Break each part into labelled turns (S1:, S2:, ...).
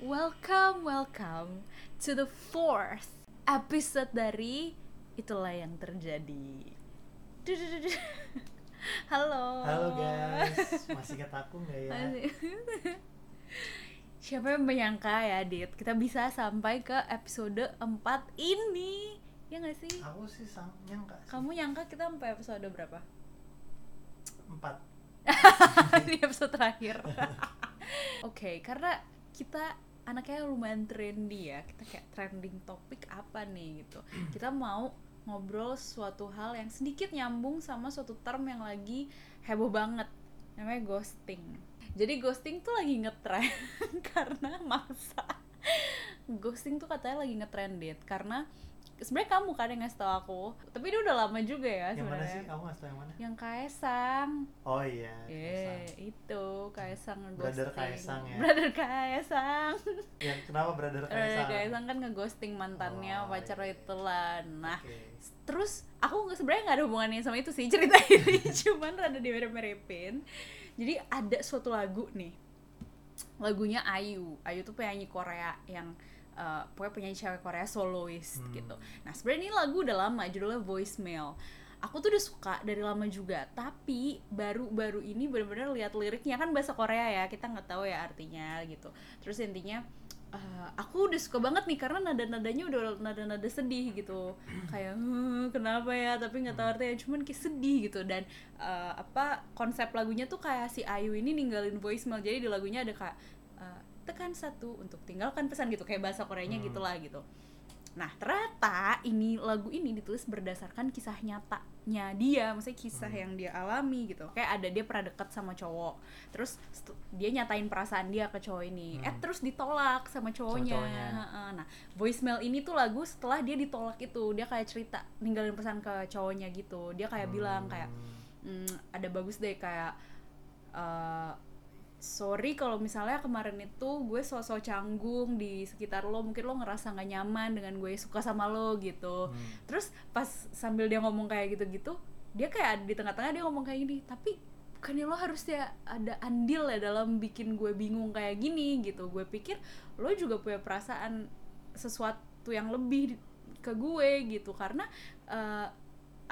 S1: Welcome, welcome to the fourth episode dari Itulah yang terjadi. Dudududu. Halo.
S2: Halo guys, masih ketaku nggak ya?
S1: Masih- Siapa yang menyangka ya, Dit? Kita bisa sampai ke episode 4 ini. Ya nggak sih?
S2: Aku sih sang nyangka sih.
S1: Kamu nyangka kita sampai episode berapa?
S2: empat.
S1: di episode terakhir. Oke, karena kita anaknya lumayan trendy ya. Kita kayak trending topik apa nih gitu. Kita mau ngobrol suatu hal yang sedikit nyambung sama suatu term yang lagi heboh banget. Namanya ghosting. Jadi ghosting tuh lagi ngetren karena masa ghosting tuh katanya lagi ngetrended karena sebenarnya kamu kan yang ngasih tau aku tapi dia udah lama juga ya
S2: Yang mana sih?
S1: sebenarnya
S2: Kamu ngasih tau yang mana?
S1: yang Kaisang
S2: Oh iya.
S1: Eh,
S2: Kaisang.
S1: itu Kaisang
S2: Brother
S1: ngeghosting.
S2: Kaisang ya?
S1: Brother Kaisang.
S2: Yang kenapa brother
S1: Brother
S2: Kaisang?
S1: Eh, Kaisang kan ngeghosting mantannya
S2: Oh,
S1: pacar
S2: iya.
S1: itulah. Nah,
S2: Oke.
S1: terus aku nggak sebenarnya nggak ada hubungannya sama itu sih cerita ini cuman rada dimirip-miripin jadi ada suatu lagu nih lagunya Ayu Ayu tuh penyanyi Korea yang eh, pokoknya penyanyi cewek Korea soloist
S2: Hmm.
S1: gitu nah sebenarnya ini lagu udah lama judulnya voicemail aku tuh udah suka dari lama juga tapi baru-baru ini bener-bener lihat liriknya kan bahasa Korea ya kita nggak tahu ya artinya gitu terus intinya eh, aku udah suka banget nih karena nada-nadanya udah nada-nada sedih gitu kayak "Hmm, kenapa ya tapi nggak tahu artinya cuman kayak sedih gitu dan eh, apa konsep lagunya tuh kayak si Ayu ini ninggalin voicemail jadi di lagunya ada kayak eh, tekan satu untuk tinggalkan pesan gitu kayak bahasa Koreanya
S2: Hmm.
S1: gitulah gitu nah ternyata ini lagu ini ditulis berdasarkan kisah nyatanya dia maksudnya kisah
S2: Hmm.
S1: yang dia alami gitu kayak ada dia pernah deket sama cowok terus st- dia nyatain perasaan dia ke cowok ini eh
S2: Hmm.
S1: terus ditolak sama cowoknya,
S2: Sama cowoknya.
S1: Heeh, nah voicemail ini tuh lagu setelah dia ditolak itu dia kayak cerita ninggalin pesan ke cowoknya gitu dia
S2: Hmm.
S1: kayak bilang kayak "Hmm, ada bagus deh kayak eh, sorry kalau misalnya kemarin itu gue sosok canggung di sekitar lo mungkin lo ngerasa nggak nyaman dengan gue suka sama lo gitu
S2: Hmm.
S1: terus pas sambil dia ngomong kayak gitu-gitu dia kayak ada di tengah-tengah dia ngomong kayak gini tapi bukannya lo harusnya ada andil ya dalam bikin gue bingung kayak gini gitu gue pikir lo juga punya perasaan sesuatu yang lebih di- ke gue gitu karena eh,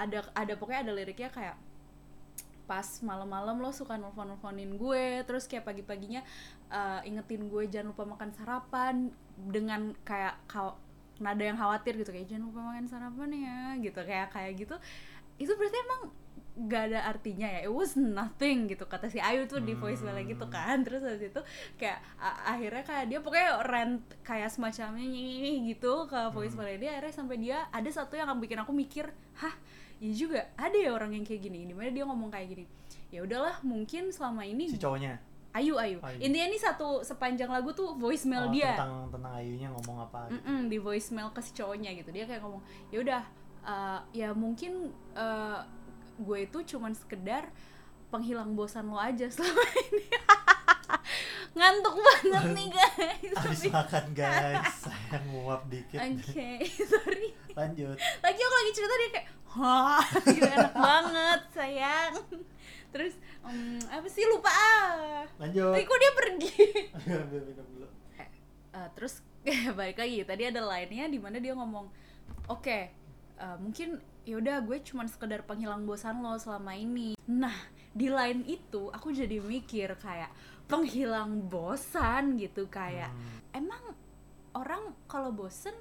S1: ada ada pokoknya ada liriknya kayak pas malam-malam lo suka nelfon-nelfonin gue terus kayak pagi-paginya eh, ingetin gue jangan lupa makan sarapan dengan kayak kau nada yang khawatir gitu kayak jangan lupa makan sarapan ya gitu kayak kayak gitu itu berarti emang gak ada artinya ya it was nothing gitu kata si Ayu tuh di voice mail gitu
S2: Hmm.
S1: kan terus habis itu kayak a- akhirnya kayak dia pokoknya rent kayak semacamnya "Nyih," gitu ke voice
S2: Hmm.
S1: mail dia akhirnya sampai dia ada satu yang bikin aku mikir hah Iya juga, ada ya orang yang kayak gini. Dimana dia ngomong kayak gini. Ya udahlah, mungkin selama ini
S2: Si cowoknya.
S1: ayu ayu.
S2: Ayu.
S1: Intinya nih satu sepanjang lagu tuh voicemail
S2: Oh,
S1: dia.
S2: Tentang tentang Ayunya ngomong apa? gitu.
S1: Mm-mm, di voicemail ke si cowoknya gitu dia kayak ngomong ya udah eh, ya mungkin eh, gue itu cuman sekedar penghilang bosan lo aja selama ini ngantuk banget nih guys
S2: Habis makan guys, sayang nguap dikit.
S1: oke sorry
S2: Lanjut.
S1: lagi aku lagi cerita dia kayak hah gitu, enak banget sayang terus em, apa sih lupa ah
S2: Lanjut.
S1: tapi kok dia pergi
S2: Ambil minum dulu.
S1: Eh, terus balik lagi tadi ada lainnya di mana dia ngomong oke eh, mungkin yaudah gue cuman sekedar penghilang bosan lo selama ini nah di lain itu aku jadi mikir kayak penghilang bosan gitu kayak
S2: Hmm.
S1: emang orang kalau bosen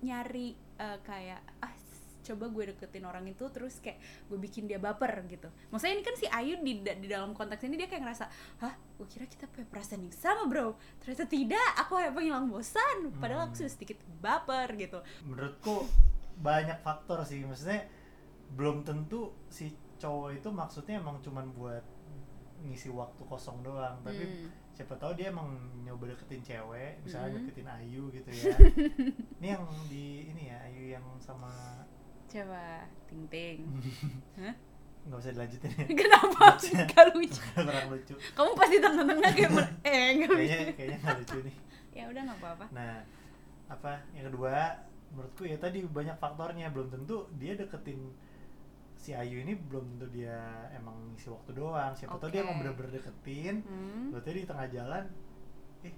S1: nyari eh, kayak ah s- coba gue deketin orang itu terus kayak gue bikin dia baper gitu maksudnya ini kan si Ayu di, da- di dalam konteks ini dia kayak ngerasa hah gue kira kita punya perasaan yang sama bro ternyata tidak aku hanya penghilang bosan padahal aku
S2: Hmm.
S1: sudah sedikit baper gitu
S2: menurutku banyak faktor sih maksudnya belum tentu si cowok itu maksudnya emang cuman buat ngisi waktu kosong doang tapi
S1: Hmm.
S2: siapa tahu dia emang nyoba deketin cewek
S1: Hmm.
S2: misalnya deketin Ayu gitu ya ini yang di ini ya Ayu yang sama
S1: coba ting ting
S2: Hmm.
S1: Hah?
S2: nggak usah dilanjutin ya
S1: kenapa gak lucu
S2: kurang lucu
S1: kamu pasti tengah-tengah kayak mer- eh nggak
S2: kayaknya
S1: bisa
S2: kayaknya nggak lucu nih
S1: ya udah nggak apa-apa
S2: Nah, apa yang kedua menurutku ya tadi banyak faktornya belum tentu dia deketin si Ayu ini belum tentu dia emang ngisi waktu doang siapa tahu
S1: Oke.
S2: dia emang bener-bener deketin
S1: Hmm.
S2: berarti di tengah jalan eh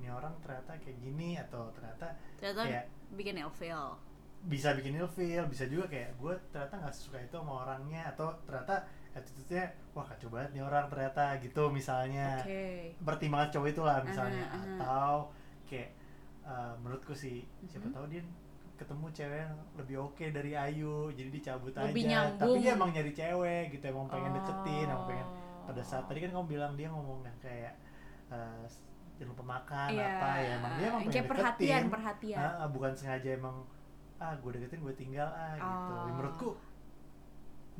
S2: ini orang ternyata kayak gini atau ternyata
S1: Ternyata
S2: Kayak-
S1: bikin ilfeel.
S2: bisa bikin ilfeel bisa juga kayak gue ternyata nggak suka itu sama orangnya atau ternyata attitude-nya wah kacau banget nih orang ternyata gitu misalnya
S1: Oke.
S2: pertimbangan cowok itulah misalnya
S1: Aha, aha.
S2: atau kayak eh, menurutku sih siapa
S1: Mhm.
S2: tahu dia ketemu cewek yang lebih oke dari Ayu jadi dicabut
S1: Lebih
S2: aja tapi
S1: nyambung.
S2: dia emang nyari cewek gitu emang pengen
S1: Oh.
S2: deketin emang pengen pada saat tadi kan kamu bilang dia ngomong yang kayak eh, jangan lupa makan
S1: Iya.
S2: apa ya emang dia emang pengen
S1: kayak perhatian,
S2: deketin
S1: perhatian.
S2: Ah, ah, bukan sengaja emang ah gue deketin gue tinggal ah gitu
S1: Oh.
S2: Ya, menurutku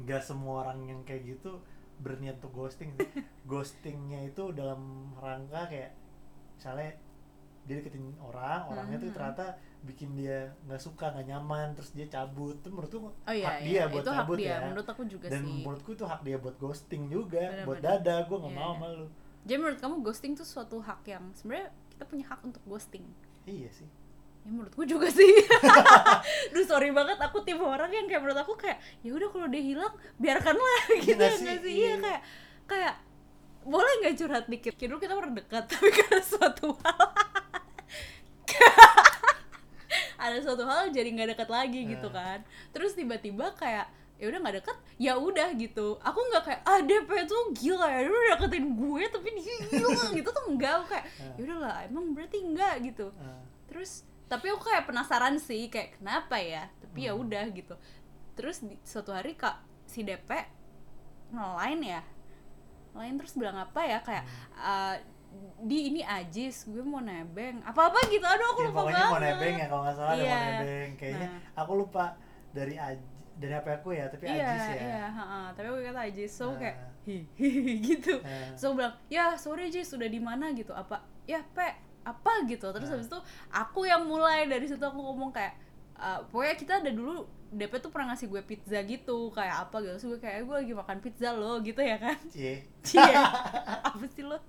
S2: nggak semua orang yang kayak gitu berniat untuk ghosting sih. ghostingnya itu dalam rangka kayak misalnya dia deketin orang orangnya tuh
S1: Mhm.
S2: ternyata bikin dia nggak suka nggak nyaman terus dia cabut tuh menurutku
S1: oh iya,
S2: hak
S1: iya.
S2: dia buat
S1: itu hak
S2: cabut
S1: dia.
S2: ya
S1: Menurut aku juga
S2: dan
S1: sih.
S2: menurutku itu hak dia buat ghosting juga buat
S1: Benar-benar.
S2: dada gue nggak
S1: Iya,
S2: mau
S1: iya.
S2: sama lu
S1: Jadi menurut kamu ghosting tuh suatu hak yang sebenarnya kita punya hak untuk ghosting.
S2: iya sih
S1: Ya menurutku juga sih. Duh sorry banget aku tipe orang yang kayak menurut aku kayak ya udah kalau dia hilang biarkanlah gitu
S2: nggak
S1: ya nggak
S2: sih?
S1: sih? Iya
S2: Iya.
S1: kayak kayak boleh nggak curhat dikit? Kayak dulu kita pernah dekat tapi karena suatu hal ada suatu hal jadi nggak dekat lagi gitu
S2: Eh.
S1: kan. Terus tiba-tiba kayak ya udah nggak deket ya udah gitu aku nggak kayak ah DP tuh gila ya dia udah deketin gue tapi dia hilang gitu tuh enggak aku kayak
S2: Eh.
S1: ya udahlah emang berarti enggak gitu
S2: Ah,
S1: terus tapi aku kayak penasaran sih kayak kenapa ya tapi ya
S2: Hmm.
S1: udah gitu terus di, suatu hari kak si DP ngelain ya lain terus bilang apa ya kayak "Ah,
S2: Hmm.
S1: di ini ajis gue mau nebeng apa apa gitu aduh aku
S2: ya,
S1: lupa
S2: pokoknya
S1: banget
S2: mau nebeng ya kalau nggak salah ada
S1: Iya.
S2: mau nebeng kayaknya aku lupa dari aj- dari apa aku ya tapi
S1: iya
S2: ajis ya
S1: iya ha-ha. tapi aku kata ajis so
S2: Ah.
S1: kayak hihihi gitu
S2: Ah.
S1: so aku bilang ya sorry Jis sudah di mana gitu apa ya pe apa gitu terus
S2: Ah.
S1: habis itu aku yang mulai dari situ aku ngomong kayak "Ah, pokoknya kita ada dulu DP tuh pernah ngasih gue pizza gitu kayak apa gitu terus gue kayak gue lagi makan pizza loh gitu ya kan
S2: Cie.
S1: Cie, apa sih lo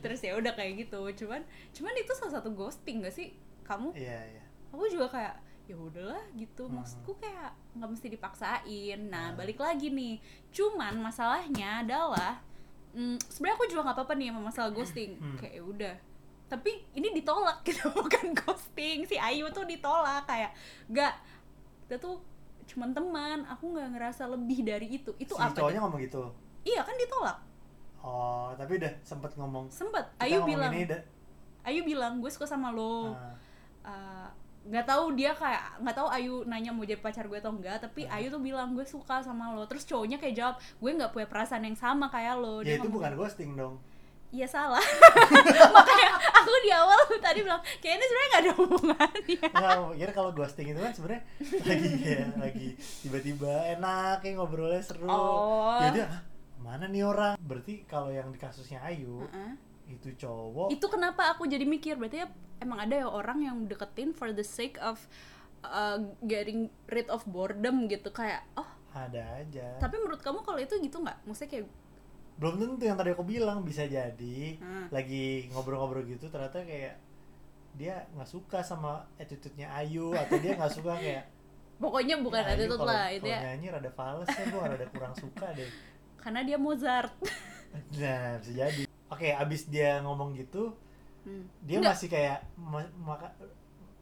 S1: terus ya udah kayak gitu cuman cuman itu salah satu ghosting gak sih kamu
S2: iya iya
S1: aku juga kayak ya udahlah gitu maksudku kayak nggak mesti dipaksain nah
S2: Hmm.
S1: balik lagi nih cuman masalahnya adalah mm, sebenarnya aku juga nggak apa-apa nih sama masalah ghosting
S2: Hmm.
S1: kayak "Ya udah tapi ini ditolak gitu bukan ghosting si Ayu tuh ditolak kayak nggak kita tuh cuman teman aku nggak ngerasa lebih dari itu itu
S2: si
S1: apa
S2: cowoknya
S1: Dit?
S2: ngomong gitu
S1: iya kan ditolak
S2: oh tapi udah sempet ngomong
S1: sempet
S2: "Kita
S1: Ayu
S2: ngomong
S1: bilang "Oh,
S2: ini da-
S1: Ayu bilang gue suka sama lo
S2: ah,
S1: Uh, nggak tahu dia kayak nggak tahu Ayu nanya mau jadi pacar gue atau enggak tapi
S2: Hmm.
S1: Ayu tuh bilang gue suka sama lo terus cowoknya kayak jawab gue nggak punya perasaan yang sama kayak lo
S2: ya
S1: oh, ngomong,
S2: itu
S1: gitu."
S2: bukan ghosting dong
S1: iya salah makanya aku di awal tadi bilang kayaknya sebenarnya nggak ada hubungannya
S2: nggak kira kalau ghosting itu kan sebenarnya lagi ya lagi tiba-tiba enak kayak ngobrolnya seru
S1: Oh.
S2: ya dia "Hah, mana nih orang berarti kalau yang di kasusnya Ayu
S1: Heeh.
S2: itu cowok
S1: itu kenapa aku jadi mikir berarti ya emang ada ya orang yang deketin for the sake of uh, getting rid of boredom gitu kayak oh
S2: ada aja
S1: tapi menurut kamu kalau itu gitu nggak maksudnya kayak
S2: belum tentu yang tadi aku bilang bisa jadi
S1: Hmm.
S2: lagi ngobrol-ngobrol gitu ternyata kayak dia nggak suka sama attitude-nya Ayu atau dia nggak suka kayak
S1: pokoknya bukan
S2: "Ya, Ayu
S1: attitude
S2: kalau-
S1: lah itu
S2: kalau
S1: ya
S2: nyanyi rada fals ya gue rada kurang suka deh
S1: karena dia Mozart
S2: nah bisa jadi oke abis dia ngomong gitu
S1: Hmm.
S2: dia
S1: Nggak.
S2: masih kayak ma- maka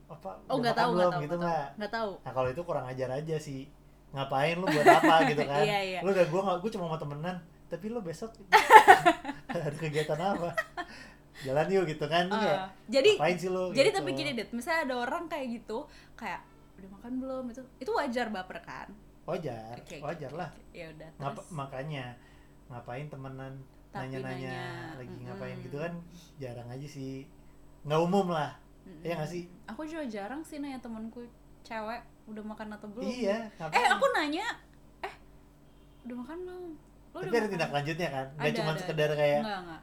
S2: apa
S1: Oh nggak
S2: udah makan
S1: tahu
S2: belum
S1: nggak tahu
S2: gitu
S1: nggak tahu
S2: nggak
S1: nggak tahu.
S2: nah kalau itu kurang ajar aja sih ngapain lu buat apa gitu kan
S1: Iya, iya.
S2: lu udah gue nggak gue cuma mau temenan tapi lu besok ada kegiatan apa jalan yuk gitu kan Lu kayak,
S1: Eh, jadi
S2: ngapain sih lu
S1: jadi
S2: gitu.
S1: tapi gini deh, misalnya ada orang kayak gitu kayak udah makan belum itu itu wajar baper kan?
S2: wajar
S1: Oke, oke,
S2: wajar lah
S1: oke. Ya udah.
S2: Ngap-
S1: terus.
S2: makanya ngapain temenan
S1: Tapi
S2: nanya-nanya
S1: nanya,
S2: lagi
S1: mm-mm.
S2: ngapain gitu kan jarang aja sih nggak umum lah
S1: Mm-mm.
S2: iya nggak sih?
S1: Aku juga jarang sih nanya temanku cewek udah makan atau belum.
S2: iya ngapain
S1: Eh aku nanya, eh udah makan belum? Lo
S2: tapi ada tindak lanjutnya kan nggak
S1: Ada,
S2: cuma
S1: ada,
S2: sekedar kayak
S1: Enggak, enggak.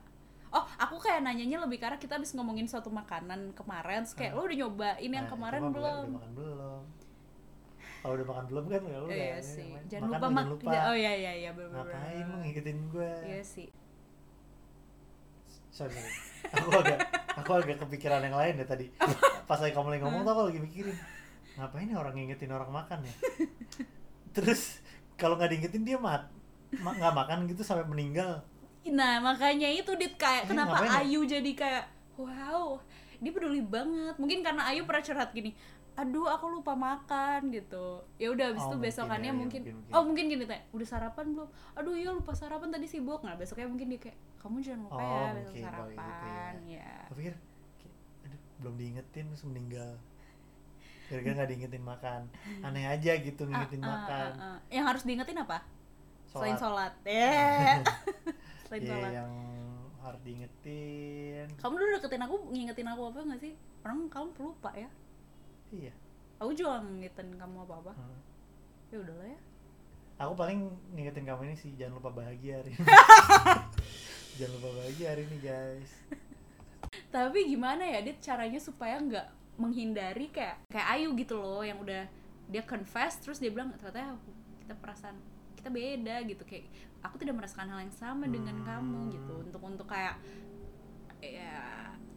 S1: Oh, aku kayak nanyanya lebih karena kita habis ngomongin suatu makanan kemarin, terus kayak
S2: Ah.
S1: lo udah nyobain yang
S2: "Nah,
S1: kemarin
S2: itu mah bukan
S1: belum?
S2: udah makan belum kalau udah makan belum kan nggak lu udah
S1: iya
S2: ini
S1: sih.
S2: ngapain?
S1: Jangan
S2: Makan
S1: lupa
S2: lu,
S1: mak.
S2: jangan lupa
S1: Oh iya iya iya. bener, bener,
S2: ngapain gitu?
S1: bener.
S2: lu ngikutin gue
S1: Iya sih.
S2: sorry, sorry. aku agak aku agak kepikiran yang lain deh tadi pas lagi kamu lagi ngomong tuh aku lagi mikirin ngapain ya orang ngingetin orang makan ya terus kalau nggak diingetin dia mat ma- nggak makan gitu sampai meninggal
S1: Nah, makanya itu dit kayak
S2: Dia
S1: kenapa
S2: ngapain ya?
S1: Ayu jadi kayak wow, dia peduli banget. Mungkin karena Ayu pernah curhat gini, "Aduh, aku lupa makan." gitu. Ya udah habis
S2: Oh,
S1: itu
S2: mungkin
S1: besokannya
S2: ya, iya,
S1: mungkin,
S2: mungkin, mungkin.
S1: oh mungkin gini teh, "Udah sarapan belum?" "Aduh, iya lupa sarapan tadi sibuk." Nah, besoknya mungkin dia kayak, "Kamu jangan lupa
S2: Oh,
S1: ya
S2: mungkin,
S1: besok
S2: boleh
S1: sarapan." ya.
S2: gue pikir kayak, aduh belum diingetin terus meninggal gara-gara nggak diingetin makan aneh aja gitu
S1: Ah,
S2: ngingetin
S1: ah,
S2: makan
S1: ah, ah. Yang harus diingetin apa? Selain
S2: sholat
S1: sholat. Eh. Selain
S2: Iya,
S1: sholat.
S2: yang harus diingetin
S1: Kamu dulu deketin aku, ngingetin aku apa nggak sih? Orang kamu pelupa ya.
S2: iya
S1: Aku juga nggak ngingetin kamu apa-apa.
S2: Hmm.
S1: Ya udahlah ya.
S2: aku paling ngingetin kamu ini sih jangan lupa bahagia hari ini jangan lupa bahagia hari ini guys
S1: tapi gimana ya dia caranya supaya nggak menghindari kayak kayak Ayu gitu loh yang udah dia confess terus dia bilang ternyata kita perasaan kita beda gitu kayak aku tidak merasakan hal yang sama dengan
S2: Hmm.
S1: kamu gitu untuk untuk kayak ya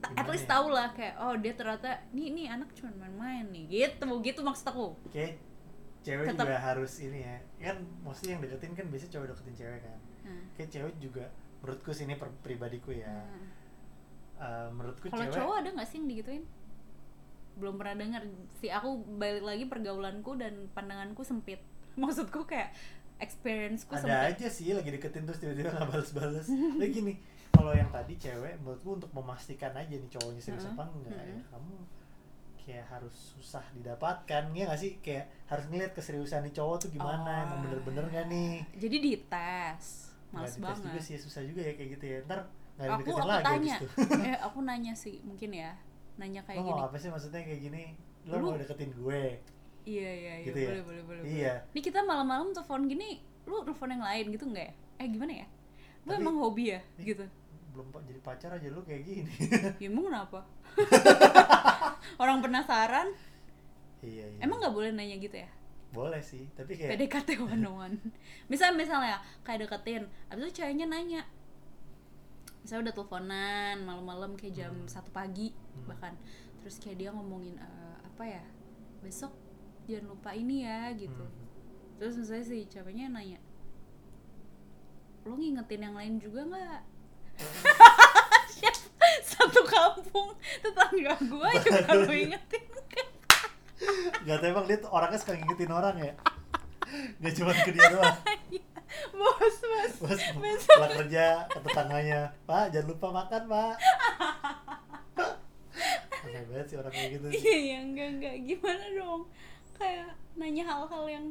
S1: ta- at
S2: Gimana
S1: least
S2: ya?
S1: tau lah kayak oh dia ternyata nih nih anak cuma main-main nih gitu gitu maksud aku
S2: kayak cewek
S1: Tetap-
S2: juga harus ini ya kan mostly yang deketin kan biasanya cowok deketin cewek kan
S1: Nah.
S2: kayak cewek juga menurutku sih ini per- pribadiku ya
S1: Nah.
S2: Eh, menurutku
S1: Kalau
S2: cewek
S1: cowok ada nggak sih yang digituin? Belum pernah dengar sih. Aku balik lagi pergaulanku dan pandanganku sempit. Maksudku kayak experienceku
S2: ada
S1: sempit.
S2: aja sih lagi deketin terus tiba-tiba nggak balas-balas lagi nih kalau yang tadi cewek menurutku untuk memastikan aja nih cowoknya serius
S1: Mm-mm.
S2: apa enggak ya
S1: Mm-mm.
S2: kamu kayak harus susah didapatkan ya nggak sih kayak harus ngeliat keseriusan nih cowok tuh gimana
S1: Oh.
S2: emang bener-bener nggak nih
S1: Jadi dites. Males
S2: Nggak dites
S1: banget.
S2: juga sih susah juga ya kayak gitu ya ntar nggak ada
S1: Aku
S2: deketin
S1: aku
S2: lagi
S1: tanya.
S2: abis itu Oh,
S1: eh, aku nanya sih mungkin ya. Nanya kayak
S2: lo
S1: gini.
S2: mau apa sih maksudnya kayak gini lo
S1: Lu-
S2: mau deketin gue
S1: Iya, iya, iya.
S2: Gitu ya?
S1: boleh, boleh, boleh,
S2: iya
S1: boleh. Ini kita malam-malam telepon gini, lu telepon yang lain gitu nggak ya? Eh, gimana ya? Lu
S2: Tapi-
S1: emang hobi ya?
S2: Ih.
S1: Gitu.
S2: belum pa- jadi pacar aja lu kayak gini
S1: Ya emang kenapa? Orang penasaran,
S2: iya iya
S1: emang nggak boleh nanya gitu ya?
S2: boleh sih tapi kayak
S1: PDKT one on one. Misal misalnya kayak deketin, abis itu ceweknya nanya. Misalnya udah teleponan malam-malam kayak jam
S2: Hmm.
S1: satu pagi
S2: Hmm.
S1: bahkan. Terus kayak dia ngomongin "Eh, apa ya? Besok jangan lupa ini ya gitu.
S2: Hmm.
S1: Terus misalnya si ceweknya nanya, lo ngingetin yang lain juga nggak? Siap- satu kampung tetangga gua juga lo ingetin
S2: Gak tau emang dia tuh orangnya suka ngingetin orang ya Gak cuma ke dia doang
S1: bos bos
S2: Terus
S1: Besok.
S2: pulang kerja ke tetangganya Pak jangan lupa makan pak Aneh banget sih orang kayak gitu sih
S1: Iya, iya, enggak, enggak. Gimana dong? Kayak nanya hal-hal yang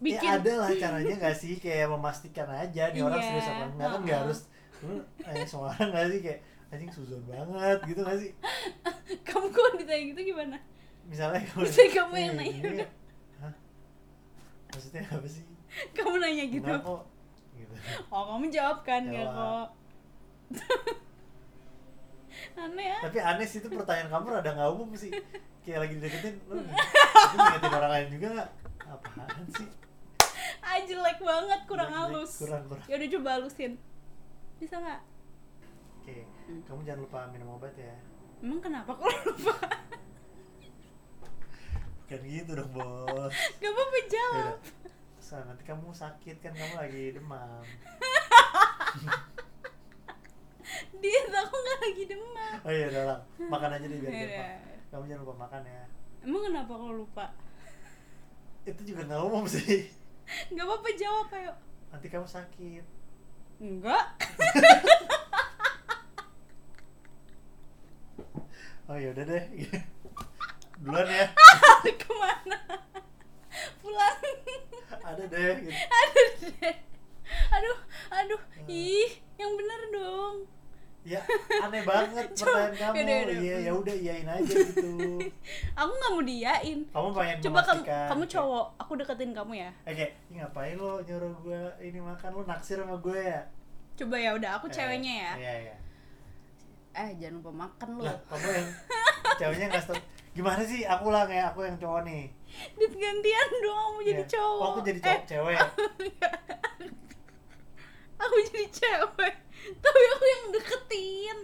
S1: bikin
S2: Ya ada lah caranya gak sih kayak memastikan aja nih orang
S1: Iya.
S2: serius apa enggak kan gak
S1: Ha-ha.
S2: harus lu eh, semua orang gak sih kayak anjing suzon banget gitu gak sih
S1: kamu kok ditanya gitu gimana?
S2: misalnya kalau
S1: Bisa kamu yang
S2: "Eh,
S1: nanya
S2: ini-
S1: udah."
S2: Hah? maksudnya apa sih
S1: Kamu nanya gitu.
S2: Enggak kok gitu
S1: Oh, kamu jawab kan enggak
S2: Jawab.
S1: kok. Aneh ya?
S2: tapi aneh sih itu pertanyaan kamu rada nggak umum sih kayak lagi dideketin lu itu ngingetin orang lain juga nggak apaan sih
S1: Ah, jelek banget, kurang
S2: Jelek, jelek,
S1: halus.
S2: kurang kurang
S1: Ya udah coba halusin. Bisa nggak?
S2: oke kamu jangan lupa minum obat ya
S1: Emang kenapa kok lupa?
S2: bukan gitu dong bos
S1: Gak apa-apa jawab.
S2: Yaudah. Sa, nanti kamu sakit kan kamu lagi demam
S1: Dia aku nggak lagi demam.
S2: oh iya udah lang makan aja deh biar
S1: Yaudah.
S2: gampang kamu jangan lupa makan ya
S1: Emang kenapa kok lupa?
S2: itu juga nggak umum sih
S1: Gak apa-apa jawab ayo.
S2: nanti kamu sakit
S1: Enggak.
S2: oh iya udah deh duluan ya
S1: kemana pulang
S2: ada deh gitu.
S1: aduh deh. aduh aduh
S2: Hmm.
S1: ih yang bener dong
S2: ya aneh banget
S1: Coba.
S2: pertanyaan kamu
S1: Yaudah, yaudah.
S2: iya ya udah iyain aja gitu
S1: aku nggak mau diain
S2: kamu pengen
S1: coba kamu
S2: memastikan
S1: kamu
S2: kayak-
S1: cowok aku deketin kamu ya
S2: eh, kayak, "Ih, ngapain lo nyuruh gue ini makan lo naksir sama gue ya
S1: coba ya udah aku
S2: Eh,
S1: ceweknya ya
S2: iya iya
S1: eh jangan lupa makan lu
S2: lah kamu yang ceweknya nggak stop gimana sih aku lah kayak aku yang cowok nih
S1: dit gantian dong kamu jadi
S2: Iya.
S1: cowok
S2: oh, aku jadi cowok
S1: Eh,
S2: cewek
S1: aku jadi cewek tapi aku yang deketin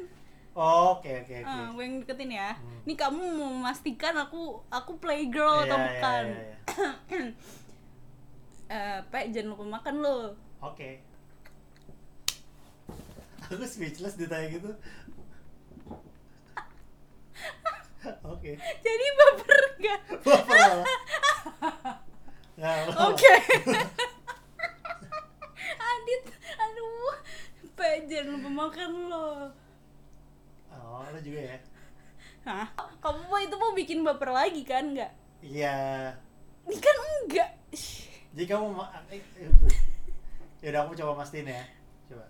S2: Oh, oke oke
S1: Ah,
S2: oke
S1: aku yang deketin ya
S2: Hmm.
S1: Nih kamu mau memastikan aku aku playgirl atau bukan
S2: iya, iya.
S1: eh pak jangan lupa makan lo
S2: Oke. Aku speechless ditanya gitu. Oke.
S1: jadi baper gak
S2: Baper malah. Nggak apa-apa.
S1: Oke. Adit, aduh, Pak jangan lupa makan lo.
S2: Oh, lo juga ya?
S1: Hah? Kamu mau itu mau bikin baper lagi kan nggak?
S2: Iya.
S1: Ini kan enggak. Ih,
S2: Jadi kamu mau... ya udah aku coba pastiin ya. Coba.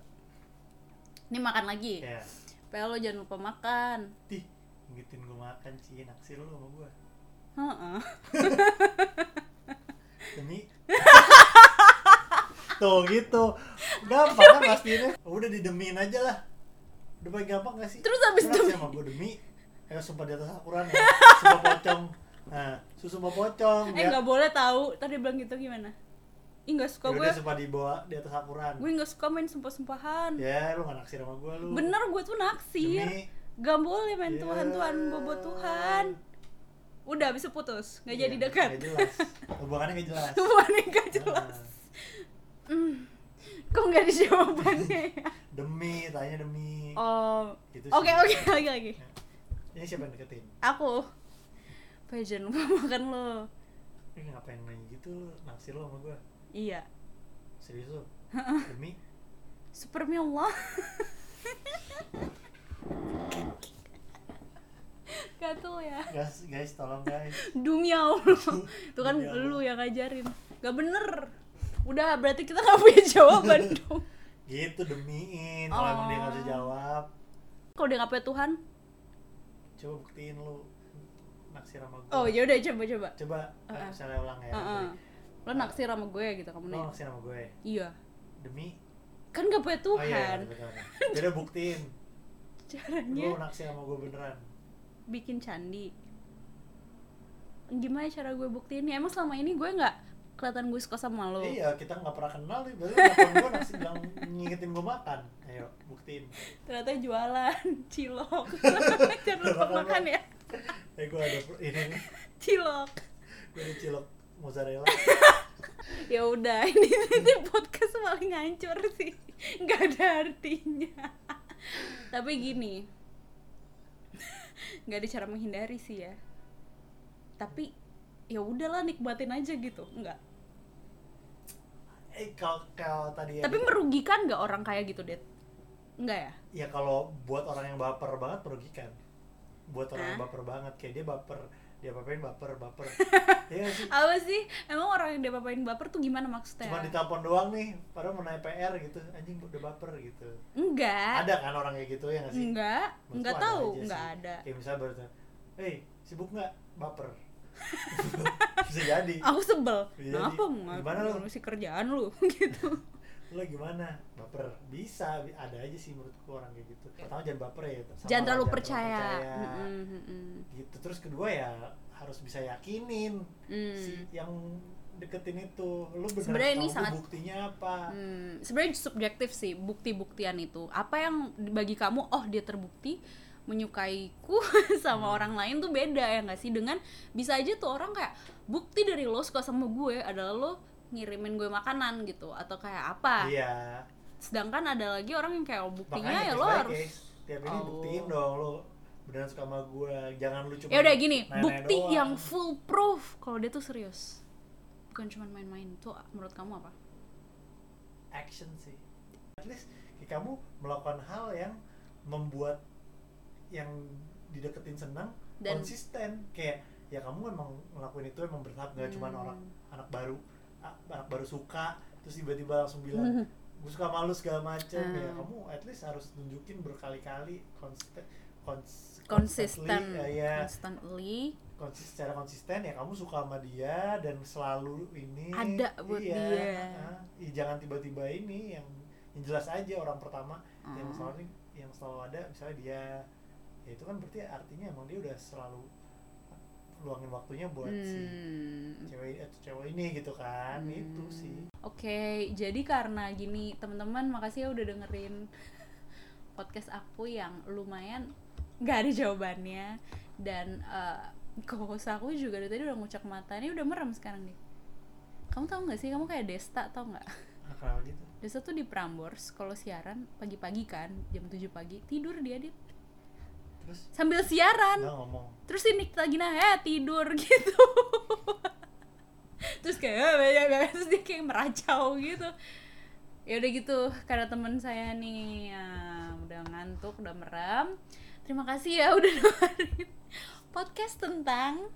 S1: Ini makan lagi.
S2: Ya.
S1: Pak lo jangan lupa makan.
S2: Tih, ngingetin gue makan sih, naksir lo sama gue.
S1: Heeh.
S2: Demi Tuh gitu Gampang kan pastinya Udah didemin aja lah Udah paling gampang gak sih?
S1: Terus abis
S2: Lu naksir
S1: demi-
S2: sama gue demi Ayo sumpah di atas akuran ya Sumpah pocong Nah, susu sumpah pocong
S1: Eh
S2: ya.
S1: nggak boleh tahu. Tadi bilang gitu gimana? Ih nggak suka
S2: Yaudah,
S1: gue.
S2: sumpah dibawa di atas akuran
S1: Gue nggak suka main sumpah-sumpahan.
S2: Ya, lu gak naksir sama gue lu
S1: Bener gue tuh naksir.
S2: Demi
S1: Gak boleh main
S2: Ya.
S1: Tuhan-Tuhan bobot Tuhan. Udah bisa putus. Nggak
S2: Iya,
S1: jadi dekat.
S2: Gak jelas Hubungannya gak jelas
S1: Hubungannya nggak jelas.
S2: Nah,
S1: Hmm. Kok nggak ada jawabannya ya?
S2: Demi, tanya demi
S1: Oh,
S2: Gitu
S1: oke
S2: sih.
S1: oke lagi lagi.
S2: Ini siapa yang deketin?
S1: Aku, Pak jangan lupa makan lo.
S2: Ini ngapain main gitu lu, naksir lu sama gue
S1: Iya.
S2: Serius lu? Demi?
S1: Super Allah. Gatel ya.
S2: Guys, guys tolong guys.
S1: Demi Allah. Itu kan
S2: Demi Allah.
S1: lu yang ngajarin. Gak bener. Udah berarti kita gak punya jawaban dong.
S2: Gitu demiin. Kalau emang dia nggak bisa
S1: Oh.
S2: jawab,
S1: Kalau dia nggak punya Tuhan.
S2: coba buktiin lu naksir sama gue.
S1: Oh ya udah coba coba.
S2: Coba
S1: Uh-uh.
S2: uh misalnya ulang ya.
S1: Heeh. Lo naksir sama gue gitu kamu
S2: Lu
S1: nanya.
S2: naksir sama gue.
S1: Iya.
S2: Demi
S1: Kan gak punya
S2: Oh
S1: Tuhan.
S2: iya, betul. Jadi buktiin
S1: Caranya
S2: lu naksir sama gue beneran.
S1: bikin candi gimana cara gue buktiin ya emang selama ini gue nggak kelihatan gue suka sama lo
S2: Iya, kita nggak pernah kenal nih. Baru nelfon gue naksir bilang ngingetin gue makan. Ayo, buktiin.
S1: ternyata jualan cilok jangan lupa
S2: Makan,
S1: makan
S2: Bang.
S1: ya
S2: Eh gue ada ini nih.
S1: cilok
S2: Gue ada cilok mozzarella.
S1: ya udah ini, ini podcast paling hancur sih nggak ada artinya tapi gini nggak ada cara menghindari sih ya tapi ya udahlah nikmatin aja gitu nggak
S2: Eh kalau kalau tadi ya.
S1: tapi merugikan nggak orang kayak gitu det nggak ya
S2: ya kalau buat orang yang baper banget merugikan buat orang yang
S1: Hah?
S2: baper banget kayak dia baper dia apain baper baper ya nggak sih
S1: apa sih emang orang yang dibapain baper tuh gimana maksudnya
S2: cuma ditelepon doang nih padahal mau naik PR gitu anjing udah baper gitu
S1: enggak
S2: ada kan orang kayak gitu ya nggak sih
S1: enggak
S2: Menurut
S1: enggak
S2: gua ada
S1: tahu
S2: aja
S1: enggak
S2: sih.
S1: ada
S2: kayak misalnya baru tuh hey sibuk nggak baper bisa jadi
S1: aku sebel
S2: Iya,
S1: kenapa
S2: jadi gimana lu?
S1: ngurusi kerjaan lu gitu
S2: lo gimana baper bisa bi- ada aja sih menurutku orang kayak gitu pertama jangan baper ya sama
S1: jangan
S2: lah,
S1: terlalu percaya,
S2: percaya.
S1: Mm-mm, mm-mm.
S2: gitu terus kedua ya harus bisa yakinin
S1: Mm.
S2: si yang deketin itu lu bener
S1: Sebenarnya ini
S2: tahu
S1: sangat-
S2: buktinya apa
S1: Hmm, sebenarnya subjektif sih bukti-buktian itu apa yang bagi kamu oh dia terbukti menyukaiku sama
S2: Hmm.
S1: orang lain tuh beda ya nggak sih dengan bisa aja tuh orang kayak bukti dari lo suka sama gue adalah lo ngirimin gue makanan gitu atau kayak apa
S2: iya
S1: sedangkan ada lagi orang yang kayak "Oh, buktinya
S2: makanya
S1: ya
S2: case
S1: lo
S2: by
S1: harus
S2: case. tiap ini
S1: Oh.
S2: buktiin dong lo beneran suka sama gue jangan lu cuma
S1: ya udah gini
S2: nanya-nanya
S1: bukti
S2: doang.
S1: yang full proof kalau dia tuh serius bukan cuma main-main tuh menurut kamu apa
S2: action sih at least kayak kamu melakukan hal yang membuat yang dideketin senang
S1: Dan-
S2: konsisten kayak ya kamu emang ngelakuin itu emang bertahap nggak cuma
S1: Hmm.
S2: orang anak baru a- anak baru suka terus tiba-tiba langsung bilang gue suka malu segala macem ya
S1: Hmm.
S2: kamu at least harus nunjukin berkali-kali konsisten kons
S1: konsisten
S2: constantly, ya, ya
S1: constantly
S2: konsis- secara konsisten ya kamu suka sama dia dan selalu ini
S1: Ada buat
S2: iya,
S1: dia.
S2: ah. Ih, jangan tiba-tiba ini yang, yang jelas aja orang pertama yang
S1: Hmm.
S2: selalu yang selalu ada misalnya dia ya itu kan berarti artinya emang dia udah selalu luangin waktunya buat si
S1: Hmm.
S2: cewek eh, cewek ini gitu kan itu sih
S1: Oke, jadi karena gini teman-teman, makasih ya udah dengerin podcast aku yang lumayan gak ada jawabannya dan eh co-host aku juga dari tadi udah ngucak mata ini udah merem sekarang nih. kamu tau nggak sih kamu kayak Desta tau nggak
S2: Ah, kenapa gitu
S1: Desta tuh di Prambors kalau siaran pagi-pagi kan jam 7 pagi tidur dia dit
S2: terus
S1: sambil siaran
S2: nggak ngomong
S1: terus si Nikta Gina eh tidur gitu terus kayak "Eh, eh, eh, eh," terus dia kayak meracau gitu ya udah gitu karena teman saya nih ya, udah ngantuk udah merem terima kasih ya udah dengerin podcast tentang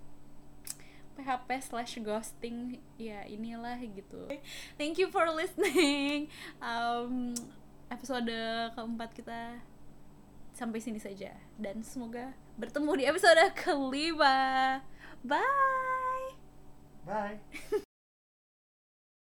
S1: PHP slash ghosting ya inilah gitu thank you for listening um, episode keempat kita sampai sini saja dan semoga bertemu di episode kelima bye
S2: bye